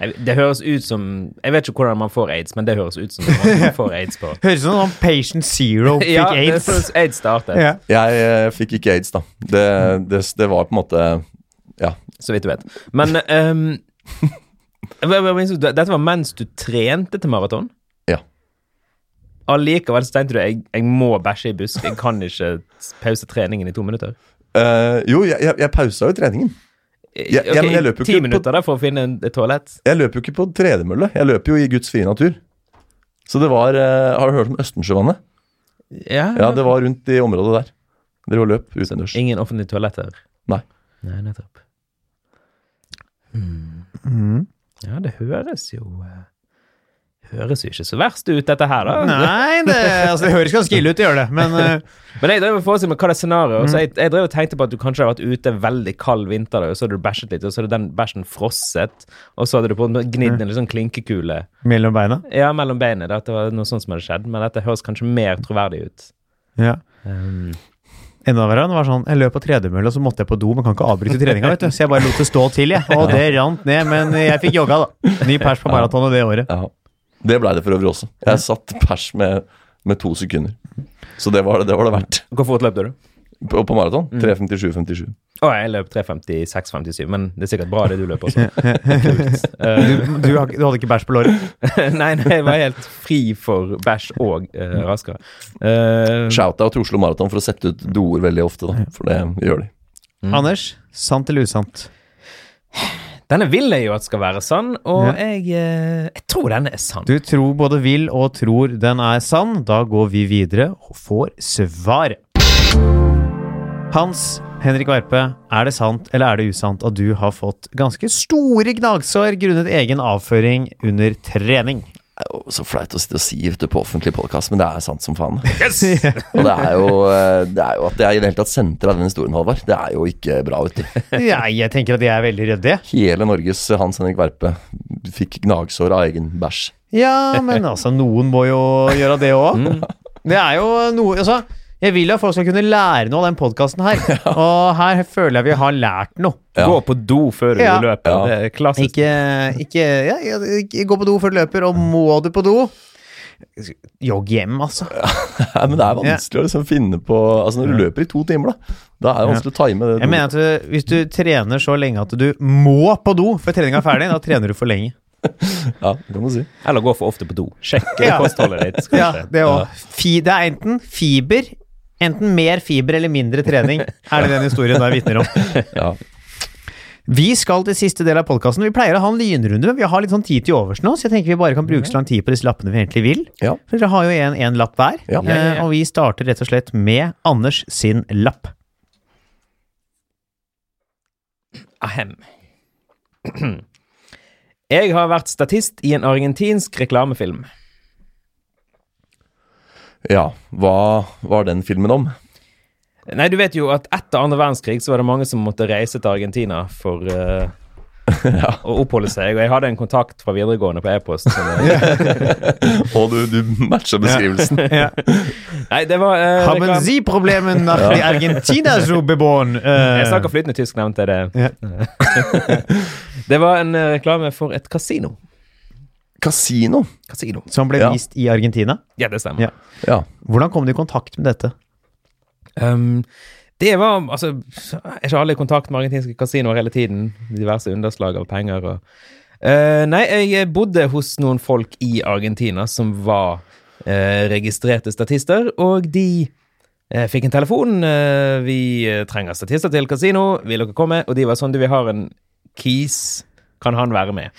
S3: Jeg- Det høres ut som Jeg vet ikke hvordan man får aids, men det høres ut som noe man får aids på.
S2: Høres ut som om Patient Zero fikk
S3: Ja, det er
S2: aids.
S3: sånn aids startet,
S2: Ja.
S4: Jeg eh, fikk ikke aids, da. Det, det, det var på en måte Ja.
S3: så vidt du vet. Men ehm, jeg bare- bare minnes- Dette var mens du trente til maraton?
S4: Ja.
S3: Allikevel så tenkte du jeg, jeg må bæsje i busk, jeg kan ikke pause treningen i to minutter.
S4: Eh, jo, jeg, jeg, jeg pausa jo treningen. Ja, ja,
S3: Ok,
S4: men jeg løper jo
S3: ti
S4: ikke på-
S3: minutter da for å finne en- et toalett.
S4: Jeg løper jo ikke på tredemølle. Jeg løper jo i Guds frie natur. Så det var eh, Har du hørt om Østensjøvannet?
S3: Ja,
S4: Ja, det var rundt i området der. Dere løp utendørs.
S3: Ingen offentlige toaletter.
S4: Nei.
S3: Nei, nettopp. Hmm.
S4: Mm.
S3: Ja, det høres jo eh, Høres jo ikke så verst ut, dette her, da.
S2: Nei, det, altså, det høres ganske ille ut å gjøre det, men eh,
S3: Men jeg drev og forestilte meg hva det er scenarioet. Så jeg, jeg drev og tenkte på at du kanskje har vært ute en veldig kald vinter, og så hadde du bæsjet litt, og så hadde den bæsjen frosset, og så hadde du på en måte gnidd en litt sånn klinkekule
S2: Mellom beina?
S3: ja, mellom beinet. da, At det var noe sånt som hadde skjedd. Men dette høres kanskje mer troverdig ut.
S2: Ja.
S3: Um,
S2: Enda verre. Det var sånn, jeg løp på tredemølle, og så måtte jeg på do, men kan ikke avbryte treninga, vet du. Så jeg bare lot det stå til, jeg. Og det rant ned, men jeg fikk jogga, da. Ny pers på maratonet det året.
S4: Ja. Det blei det for øvrig også. Jeg satt pers med, med to sekunder. Så det var det, det, var det verdt.
S3: hvor fort løp du?
S4: På, på maraton 3.57,57.
S3: Å, jeg løp 3.56,57, men det er sikkert bra det du løp også. Kult.
S2: Du,
S3: Uh,
S2: du, har- du hadde ikke bæsj på låret?
S3: nei, nei, jeg var helt fri for bæsj og eh, raskere. Uh,
S4: Shout-out til Oslo Maraton for å sette ut doer veldig ofte, da. For det gjør de.
S2: Anders, sant eller usant?
S3: denne vil jeg jo at skal være sann, og
S2: Ja.
S3: jeg, eh, jeg tror denne er sann.
S2: Du tror både vil og tror den er sann. Da går vi videre og får svar. Hans Henrik Varpe, er det sant eller er det usant at du har fått ganske store gnagsår grunnet egen avføring under trening?
S4: Det er jo så flaut å sitte og si ute på offentlig podkast, men det er sant som faen. og det er, jo, eh, det er jo at jeg i det hele tatt sentrer av den historien, Halvard. Det er jo ikke bra, vet du.
S2: Nei, jeg tenker at jeg er veldig redd det.
S4: Hele Norges eh, Hans Henrik Verpe fikk gnagsår av egen bæsj.
S2: Ja, men altså, noen må jo gjøre det òg. Det er jo noe Altså, Jeg vil at folk skal kunne lære noe av den podkasten her. Og her føler jeg vi har lært noe.
S3: Gå på do før du
S2: Ja.
S3: løper.
S4: Ja.
S3: Det er klassisk.
S2: Ikke, ikke, ja, ja, ikke gå på do før du løper, og må du på do Jogg hjem, altså.
S4: Nei, men det er vanskelig å liksom finne på Altså Når du løper i to timer, da Da er det vanskelig å time det.
S2: Jeg mener at du, Hvis du trener så lenge at du må på do før treninga er ferdig, da trener du for lenge.
S4: Ja, det kan du si.
S3: Eller gå for ofte på do. Sjekk eh,
S2: Ja.
S3: kostholdet ditt. skal
S2: Ja,
S3: du se.
S2: det, også. Fi, det er enten fiber, enten mer fiber eller mindre trening, er det den historien der vitner om.
S4: Ja.
S2: Vi skal til siste del av podkasten. Vi pleier å ha en lynrunde, men vi har litt sånn tid til overs nå, så jeg tenker vi bare kan bruke så lang tid på disse lappene vi egentlig vil.
S4: Ja.
S2: For dere har jo en, en lapp hver,
S4: Ja.
S2: eh, og vi starter rett og slett med Anders sin lapp.
S4: Eh,
S3: Ahem. Jeg har vært statist i en argentinsk reklamefilm.
S4: ja. Hva var den filmen om?
S3: Nei, du vet jo at etter andre verdenskrig så var det mange som måtte reise til Argentina for eh, å oppholde seg. Og jeg hadde en kontakt fra videregående på e-post. som jeg-
S4: Og du, du matcher beskrivelsen.
S3: Nei, det var eh,
S2: Haben
S3: reklam-
S2: Sie Problemen nach die Argentina so beboen?
S4: eh,
S3: Jeg snakker flytende tysk, nevnte jeg det. Det var en eh, reklame for et kasino.
S4: Kasino.
S3: Kasino.
S2: Som ble
S4: Ja.
S2: vist i Argentina.
S3: Ja, det stemmer.
S2: Ja.
S4: Ja.
S2: Hvordan kom du i kontakt med dette?
S3: Um, det var Altså, er ikke alle i kontakt med argentinske kasinoer hele tiden? Diverse underslag av penger og Eh, Nei, jeg bodde hos noen folk i Argentina som var eh, registrerte statister, og de eh, fikk en telefon. eh, vi eh, trenger statister til kasino, vil dere komme? Og de var sånn, du, vi har en kis, kan han være med?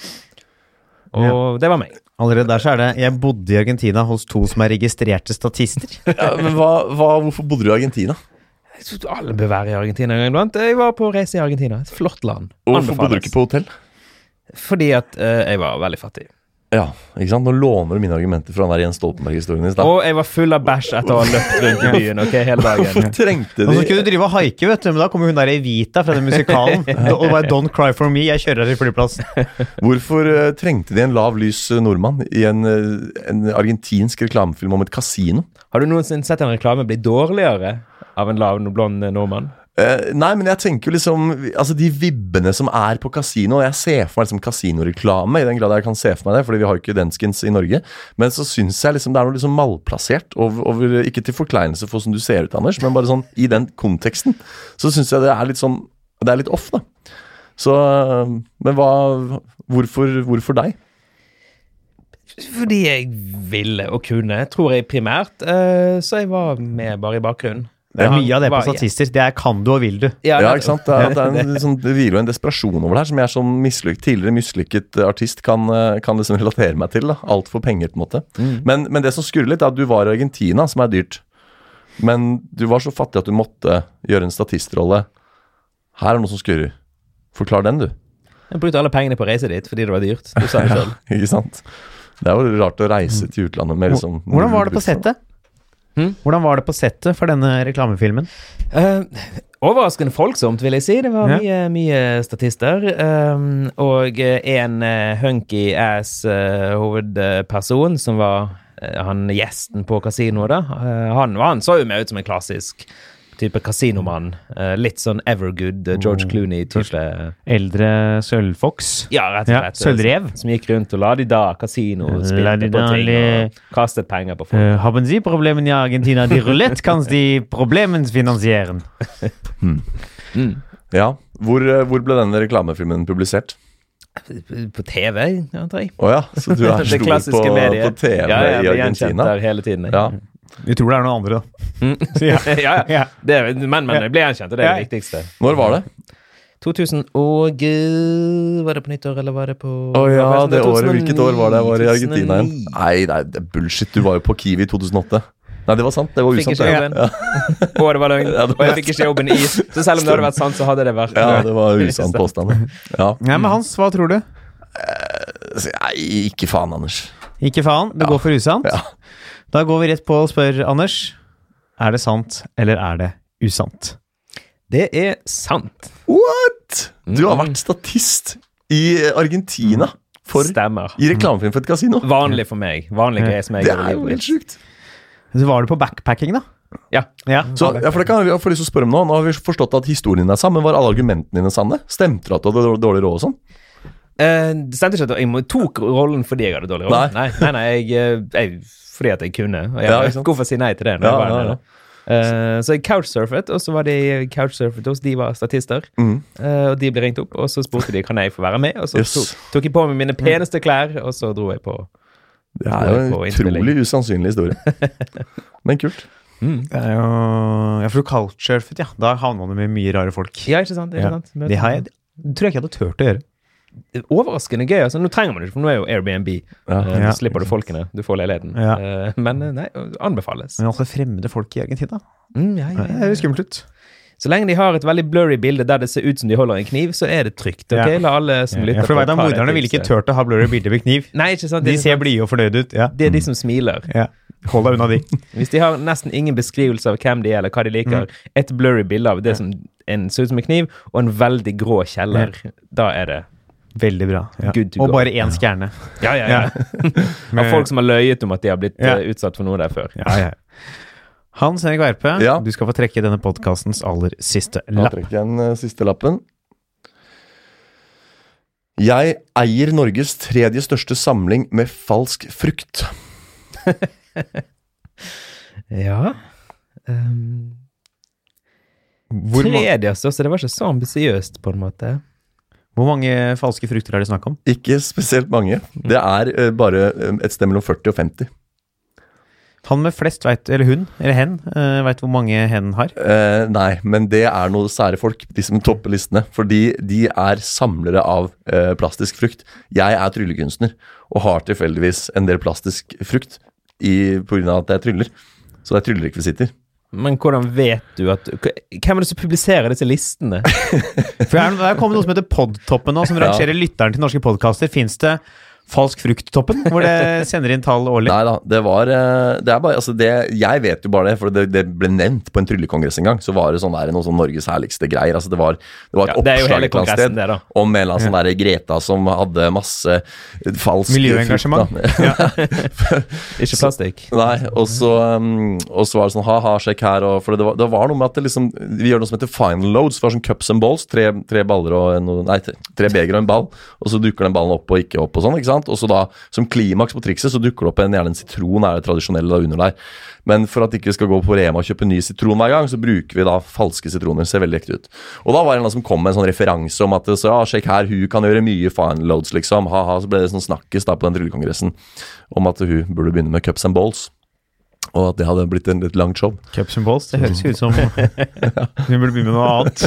S3: Og det var meg.
S2: Allerede der så er det Jeg bodde i Argentina hos to som er registrerte statister.
S4: Ja, men hva, hva, hvorfor bodde du i Argentina?
S3: Jeg trodde alle bør være i Argentina en gang iblant. Jeg var på reise i Argentina. Et flott land.
S4: Og Hvorfor bodde du
S3: Anbefales.
S4: ikke på hotell?
S3: Fordi at eh, jeg var veldig fattig.
S4: Ja, ikke sant? Nå låner du mine argumenter fra den der Jens Stoltenberg-historien i stad.
S3: Og jeg var full av bæsj etter å ha løpt rundt i byen ok, hele
S4: Hvorfor
S3: dagen.
S4: trengte
S2: Og så
S4: de
S2: skulle du Altså, drive og haike, vet du, men da kommer hun der Evita fra den musikalen. Og det var 'Don't cry for me', jeg kjører her til flyplassen.
S4: Hvorfor eh, trengte de en lav lys eh, nordmann i en, eh, en argentinsk reklamefilm om et kasino?
S3: Har du noensinne sett en reklame bli dårligere av en lav blond nordmann?
S4: Eh, nei, men jeg tenker jo liksom Altså De vibbene som er på kasino Jeg ser for meg liksom kasinoreklame, i den grad jeg kan se for meg det, fordi vi har jo ikke denskens i Norge. Men så syns jeg liksom det er noe liksom malplassert, over, over, ikke til forkleinelse for hvordan du ser ut, Anders, men bare sånn i den konteksten, så syns jeg det er litt sånn Det er litt off, da. Så eh, Men hva Hvorfor, hvorfor deg?
S3: Fordi jeg ville og kunne, tror jeg primært. eh, så jeg var med bare i bakgrunnen.
S2: Det er mye av det på
S3: Var-
S2: statister. Det er 'kan du og vil du'.
S3: Ja,
S4: Ja, ikke sant? Det, er, det, er en, sånn, det hviler jo en desperasjon over det her, som jeg som mislykk, tidligere mislykket eh, artist kan, eh, kan liksom relatere meg til. da. Alt for penger, på en måte. Men, men det som skurrer litt, er at du var i Argentina, som er dyrt. Men du var så fattig at du måtte gjøre en statistrolle. Her er noe som skurrer. Forklar den, du.
S3: Jeg brukte alle pengene på å reise dit fordi det var dyrt. Du sa det selv.
S4: Ikke sant? Det er jo rart å reise til utlandet med liksom
S2: Hvordan var det på settet?
S3: Hm?
S2: Hvordan var det på settet for denne reklamefilmen?
S3: Eh, overraskende folksomt, vil jeg si. Det var
S2: Ja.
S3: mye, mye statister. eh, og eh, en eh, hunky ass eh, hovedperson som var eh, han gjesten på kasinoet, da. Eh, han, han så jo meg ut som en klassisk type kasinomann. Eh, litt sånn Evergood, eh,
S4: Mm.
S3: George Clooney-type.
S2: Eldre sølvfoks.
S3: Ja, rett og
S2: Ja,
S3: slett.
S2: sølvrev.
S3: Som gikk rundt og la de da kasino, spilte på
S2: La-di-da,
S3: ting
S2: le-
S3: og kastet penger på folk.
S2: Uh, haben Sie Problemen i Argentina? Die Roulette kan Sie Problemen finansieren.
S4: Ja. Hvor, eh, hvor ble denne reklamefilmen publisert?
S3: På TV, antar jeg.
S4: Å ja, så du er
S3: Det
S4: stor
S3: klassiske
S4: på, på
S3: mediet.
S4: TV
S3: ja, ja, jeg
S4: i
S3: ble gjenkjent
S4: Argentina?
S3: der hele tiden. jeg.
S4: Ja.
S2: Vi tror det er noen andre, da.
S3: ja, ja. Det, er- men, men jeg ble gjenkjent, og det er
S2: Ja.
S3: det viktigste.
S4: Når var det?
S3: 2000 og eh, Var det på nyttår, eller var det på
S4: Å ja,
S3: var
S4: det året.
S3: 2009,
S4: Hvilket år var det jeg var i Argentina igjen?
S3: 2009.
S4: Nei, nei, det er bullshit. Du var jo på Kiwi i 2008. Nei, det var sant. Det var
S3: Fikk
S4: usant.
S3: ikke
S4: det.
S3: jobben. Og det var løgn.
S4: Ja, det
S3: Og jeg fikk ikke jobben i Så selv om det hadde vært sant, så hadde det vært
S4: Ja, det var usann påstand. ja. Ja.
S2: Ja, men Hans, hva tror du?
S4: Så, Nei, ikke faen, Anders.
S2: Ikke faen, det går for usant.
S4: Ja.
S2: Da går vi rett på og spør Anders. Er det sant, eller er det usant?
S3: Det er sant.
S4: What?! Du har vært statist i Argentina for,
S3: Stemmer.
S4: i reklamefilm for et kasino.
S3: Vanlig for meg. Vanlig greie som jeg
S4: Det
S3: gjør i
S4: er jo
S3: livet
S4: helt
S3: mitt.
S4: sjukt.
S2: Så var du på backpacking, da?
S3: Ja.
S2: Ja.
S4: Så, ja, for det kan jeg få lyst til å spørre om Nå Nå har vi forstått at historien din er sann, men var alle argumentene dine sanne? Stemte det at du hadde dårlig råd og sånn?
S3: Eh, det stemte ikke at jeg må- tok rollen fordi jeg hadde dårlig råd. Nei, nei, nei jeg, eh, jeg, fordi at jeg kunne. Og jeg,
S4: Ja, ikke sant?
S3: hvorfor si nei til det? Når
S4: Ja,
S3: jeg var der
S4: ja, ja.
S3: nede? Eh, så jeg couchsurfet, og så var de couchsurfet hos de var statister. Eh, og de ble ringt opp, og så spurte de kan jeg få være med. Og så
S4: Mm. Yes.
S3: tok, tok jeg på meg mine peneste klær, og så dro jeg på.
S4: Det er jo en
S3: På innspilling.
S4: utrolig usannsynlig historie. Men kult.
S2: Det er jo Ja, for du couchsurfet, ja. Da havner man jo med mye rare folk.
S3: Ja, ikke sant? Ikke
S2: Ja.
S3: sant?
S2: Det har jeg, det tror jeg ikke jeg hadde turt å gjøre.
S3: overraskende gøy. Altså, nå trenger man det ikke, for nå er jo Airbnb.
S4: Ja.
S3: Eh,
S2: Ja.
S3: Nå slipper du folkene, du får leiligheten.
S2: Ja.
S3: Eh, men eh, nei, anbefales.
S2: Men altså fremmede folk i Argentina,
S3: Mm, ja, ja,
S2: det
S3: ja.
S2: høres skummelt ut.
S3: Så lenge de har et veldig blurry bilde der det ser ut som de holder en kniv, så er det trygt. ok?
S2: Ja.
S3: La alle som lytter
S2: Ja, for du vet at
S3: ta det
S2: Morderne ville ikke
S3: tipset.
S2: turt å ha blurry bilder med kniv.
S3: Nei, ikke sant? Det
S2: De
S3: er
S2: ser Mm.
S3: sant.
S2: blide og fornøyde ut. Ja.
S3: Det er de som smiler.
S2: ja. Hold deg unna de.
S3: Hvis de har nesten ingen beskrivelse av hvem de er, eller hva de liker,
S2: Mm.
S3: et blurry bilde av det som en, ser ut som en kniv, og en veldig grå kjeller, da er det
S2: Veldig bra. Ja.
S3: Good to
S2: Og
S3: go.
S2: bare én skjerne.
S3: Ja, ja,
S2: Ja.
S3: Av folk som har løyet om at de har blitt
S2: Ja.
S3: eh, utsatt for noe der før.
S2: Ja, ja. Hans Henrik Verpe,
S4: Ja.
S2: du skal få trekke denne podkastens aller siste
S4: Da
S2: lapp.
S4: trekker jeg den eh, siste lappen. Jeg eier Norges tredje største samling med falsk frukt.
S3: Ja. Um,
S2: Hvor, ma
S3: tredje største, det var ikke altså, så ambisiøst, på en måte.
S2: hvor mange falske frukter er det snakk om?
S4: Ikke spesielt mange. Det er eh, bare eh, et sted mellom 40 og 50.
S2: Han med flest veit, eller hun, eller hen, uh, veit hvor mange hen har.
S4: Eh, nei, men det er noe sære folk, de som topper listene. Fordi de er samlere av eh, plastisk frukt. Jeg er tryllekunstner og har tilfeldigvis en del plastisk frukt i, på grunn av at jeg tryller. Så det er tryllerekvisitter.
S3: Men hvordan vet du at Hvem er det som publiserer disse listene?
S2: For det er, det er kommet noe som heter Podtoppen nå, som rangerer lytteren til norske podkaster. Fins det Falsk frukt-toppen, hvor det sender inn tall årlig?
S4: Nei da, det var eh, det er bare, altså det, Jeg vet jo bare det, for det, det ble nevnt på en tryllekongress en gang. Så var det sånn der, noe sånn Norges herligste greier. Altså det var, det var et
S3: Ja, det er jo
S4: oppslag
S3: hele
S4: et eller annet
S3: kongressen,
S4: sted
S3: det da.
S4: om en eller annen sånn der Greta som hadde masse falsk
S2: Miljøengasjement.
S4: frukt, da.
S3: Ikke plastikk.
S4: Nei, og så, um, og så var det sånn ha-ha, sjekk her. Og, for det var, det var noe med at det liksom, vi gjør noe som heter final loads. Det var sånn cups and balls. Tre, tre baller og en, Nei, tre- tre beger og en ball. Og så dukker den ballen opp og ikke opp og sånn. ikke sant? Og så da, som klimaks på trikset, så dukker det opp en, gjerne en sitron, er det tradisjonelle da under der. Men for at ikke vi skal gå på Rema og kjøpe ny sitron hver gang, så bruker vi da falske sitroner. Ser veldig ekte ut. Og da var det en eller annen som kom med en sånn referanse om at så, ja, sjekk her, hun kan gjøre mye final loads, liksom. Ha-ha. Så ble det sånn snakkes da på den tryllekongressen om at hun burde begynne med cups and balls. Og at det hadde blitt en litt langt show.
S2: Cups and balls, det høres jo ut som Hun burde begynne med noe annet.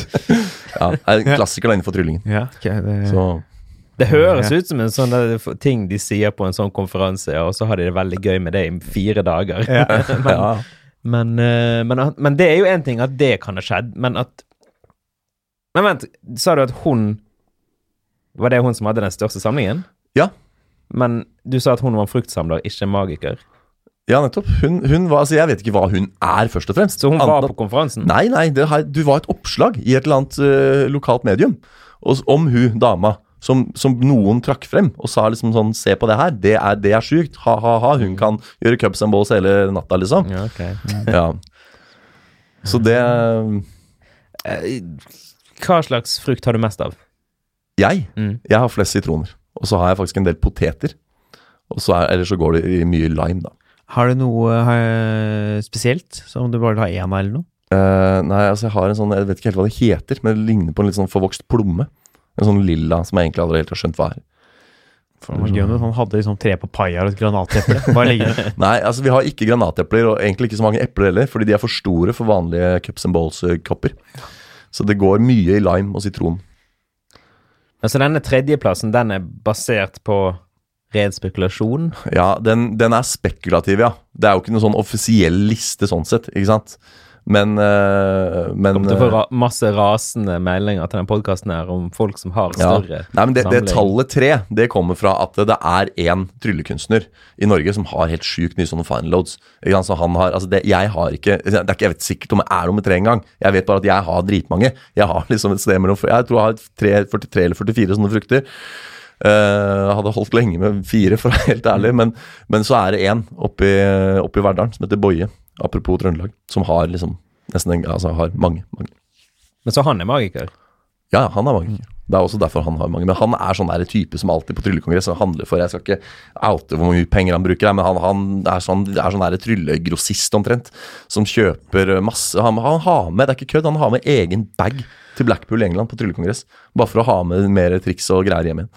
S4: Ja, er en klassiker da innenfor tryllingen.
S2: Ja, ok, det...
S4: Så
S3: Det høres
S2: Ja.
S3: ut som en sånn der f- ting de sier på en sånn konferanse, og så har de det veldig gøy med det i fire dager.
S4: ja.
S3: Men, eh, men, at- men det er jo én ting at det kan ha skjedd, men at Men vent, sa du at hun Var det hun som hadde den største samlingen?
S4: Ja.
S3: Men du sa at hun var en fruktsamler, ikke en magiker.
S4: ja, nettopp. Hun, hun var, altså Jeg vet ikke hva hun er, først og fremst.
S3: Så hun var
S4: Annet
S3: på
S4: at-
S3: konferansen?
S4: Nei, nei, det, her- du var et oppslag i et eller annet eh, lokalt medium og, s- om hun dama. Som, som noen trakk frem og sa liksom sånn Se på det her, det er, det er sjukt. Ha-ha-ha. Hun kan gjøre cups and balls hele natta, liksom.
S3: Ja, ok.
S4: Ja. Så det
S3: Eh, Hva slags frukt har du mest av?
S4: Jeg
S3: Mm.
S4: Jeg har flest sitroner. Og så har jeg faktisk en del poteter. Og så er, ellers så går det i mye lime, da.
S2: Har du noe eh, spesielt som du bare vil ha én av, eller noe?
S4: Eh, nei, altså jeg har en sånn, jeg vet ikke helt hva det heter, men det ligner på en litt sånn forvokst plomme. En sånn lilla som jeg egentlig aldri helt har skjønt hva er.
S2: For det var gøy om Han hadde liksom tre papayaer og et granateple. Bare liggende.
S4: Nei, altså vi har ikke granatepler, og egentlig ikke så mange epler heller, fordi de er for store for vanlige cups and balls-kopper. Så det går mye i lime og sitron.
S3: Altså denne tredjeplassen, den er basert på ren spekulasjon.
S4: Ja, den, den er spekulativ, ja. Det er jo ikke noen sånn offisiell liste sånn sett, ikke sant? Men, eh, men
S3: Kommer til å få
S4: eh,
S3: ra masse rasende meldinger til den podkasten her om folk som har større
S4: Nei, men det, det
S3: samling.
S4: tallet tre det kommer fra at det er én tryllekunstner i Norge som har helt sjukt mye sånne final loads. Ikke sant? Så han har, altså det, jeg har ikke, det er ikke Jeg vet sikkert om jeg er nummer tre engang. Jeg vet bare at jeg har dritmange. Jeg har liksom et sted mellom Jeg tror jeg har tre, 43 eller 44 sånne frukter. Eh, hadde holdt lenge med fire, for å være helt ærlig, men, men så er det én oppe i Verdalen som heter Boje. apropos Trøndelag, som har liksom nesten en, altså har mange. mange.
S3: Men så han er magiker.
S4: Ja, ja, han er magiker. Det er også derfor han har mange. Men han er sånn der type som alltid på tryllekongress og handler for Jeg skal ikke oute hvor mye penger han bruker, men han, han er sånn, er sånn der tryllegrossist omtrent. Som kjøper masse han, han har med, det er ikke kødd, han har med egen bag til Blackpool i England på tryllekongress. Bare for å ha med mer triks og greier hjem igjen.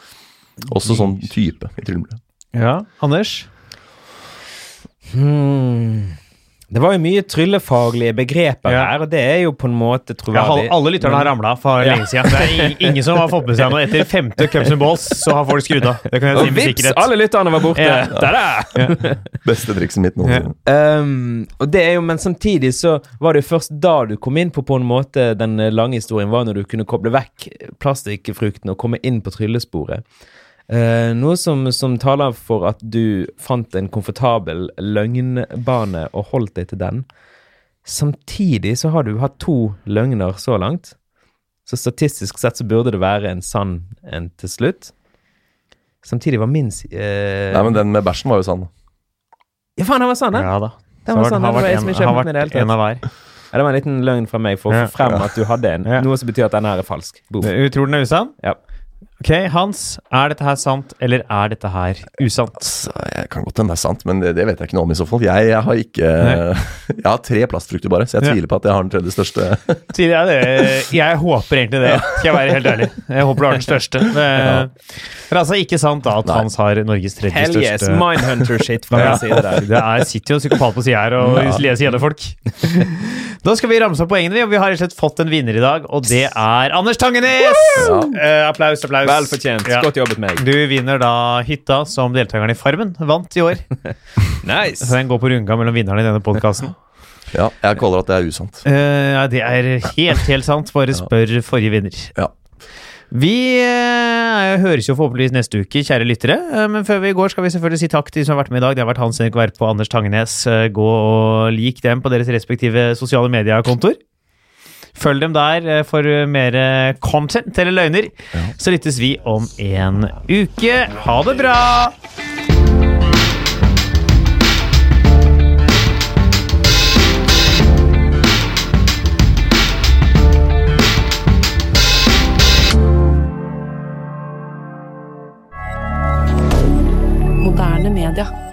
S4: Også sånn type i tryllemiljøet.
S2: Ja, Anders?
S3: Det var jo mye tryllefaglige begreper
S2: Ja.
S3: her, og det er jo på en måte
S2: Ja, hal-
S3: troverdig.
S2: alle lytterne har ramla for lenge siden. Det er ing- ingen som har fått med seg noe etter femte Cups and Balls, så har folk skrudd av. Det kan jeg
S3: Og
S2: si med
S3: vips,
S2: sikkerhet.
S3: alle lytterne var borte!
S2: Ja.
S3: Tada!
S4: Beste trikset mitt noensinne.
S3: Ehm, og det er jo, Men samtidig så var det jo først da du kom inn på på en måte den eh, lange historien, var når du kunne koble vekk plastikkfrukten og komme inn på tryllesporet. Eh, noe som, som taler for at du fant en komfortabel løgnbane og holdt deg til den. Samtidig så har du hatt to løgner så langt. Så statistisk sett så burde det være en sann en til slutt. Samtidig var min si- eh,
S4: Nei, men den med bæsjen var jo sann.
S3: Ja, faen, den var sann, den!
S2: Ja da. Så
S3: Den var
S2: har
S3: sann,
S2: har
S3: den var
S2: vært
S3: jeg som
S2: en-
S3: ikke
S2: har
S3: har fått med det i
S2: vært
S3: det hele
S2: En av hver.
S3: Ja, det var en liten løgn fra meg for å
S2: Ja.
S3: få frem at du hadde en.
S2: Ja.
S3: Noe som betyr at den her er falsk. Boom.
S2: Du Tror den er usann?
S3: Ja.
S2: Ok, Hans. Er dette her sant, eller er dette her usant?
S4: Så jeg kan godt hende det er sant, men det, det vet jeg ikke noe om i så fall. Jeg, jeg har ikke Jeg har tre plastfrukter bare, så jeg
S2: Ja.
S4: tviler på at jeg har den tredje største.
S2: Sier jeg det? Jeg håper egentlig det, skal jeg være helt ærlig. Jeg håper du har den største. Det det er altså ikke sant da at
S4: Nei.
S2: Hans har Norges tredje
S3: Hell yes,
S2: største
S3: Mindhunter-shit fra
S2: Ja.
S3: min side der.
S2: Det er, sitter jo en psykopat på sida her og leser gjennom folk. Da skal vi ramse opp poengene, vi, og vi har rett og slett fått en vinner i dag, og det er Anders Tangenes! Eh, applaus, applaus.
S3: Vel fortjent.
S2: Ja.
S3: Godt jobbet, meg.
S2: Du vinner da hytta som deltakerne i Farmen vant i år. Så
S3: Nice!
S2: den går på rundgang mellom vinnerne i denne podkasten.
S4: Ja, jeg kaller at det er usant.
S2: Eh, ja, det er helt, helt sant. Bare spør forrige vinner.
S4: Ja.
S2: Vi eh, høres jo forhåpentligvis neste uke, kjære lyttere. Eh, Men før vi går, skal vi selvfølgelig si takk til de som har vært med i dag. Det har vært Hans Erik Verpe og Anders Tangenes. Eh, Gå og lik dem på deres respektive sosiale mediekontoer. Følg dem der eh, for mer eh, content eller løgner. Så lyttes vi om en uke. Ha det bra!
S5: Moderne media.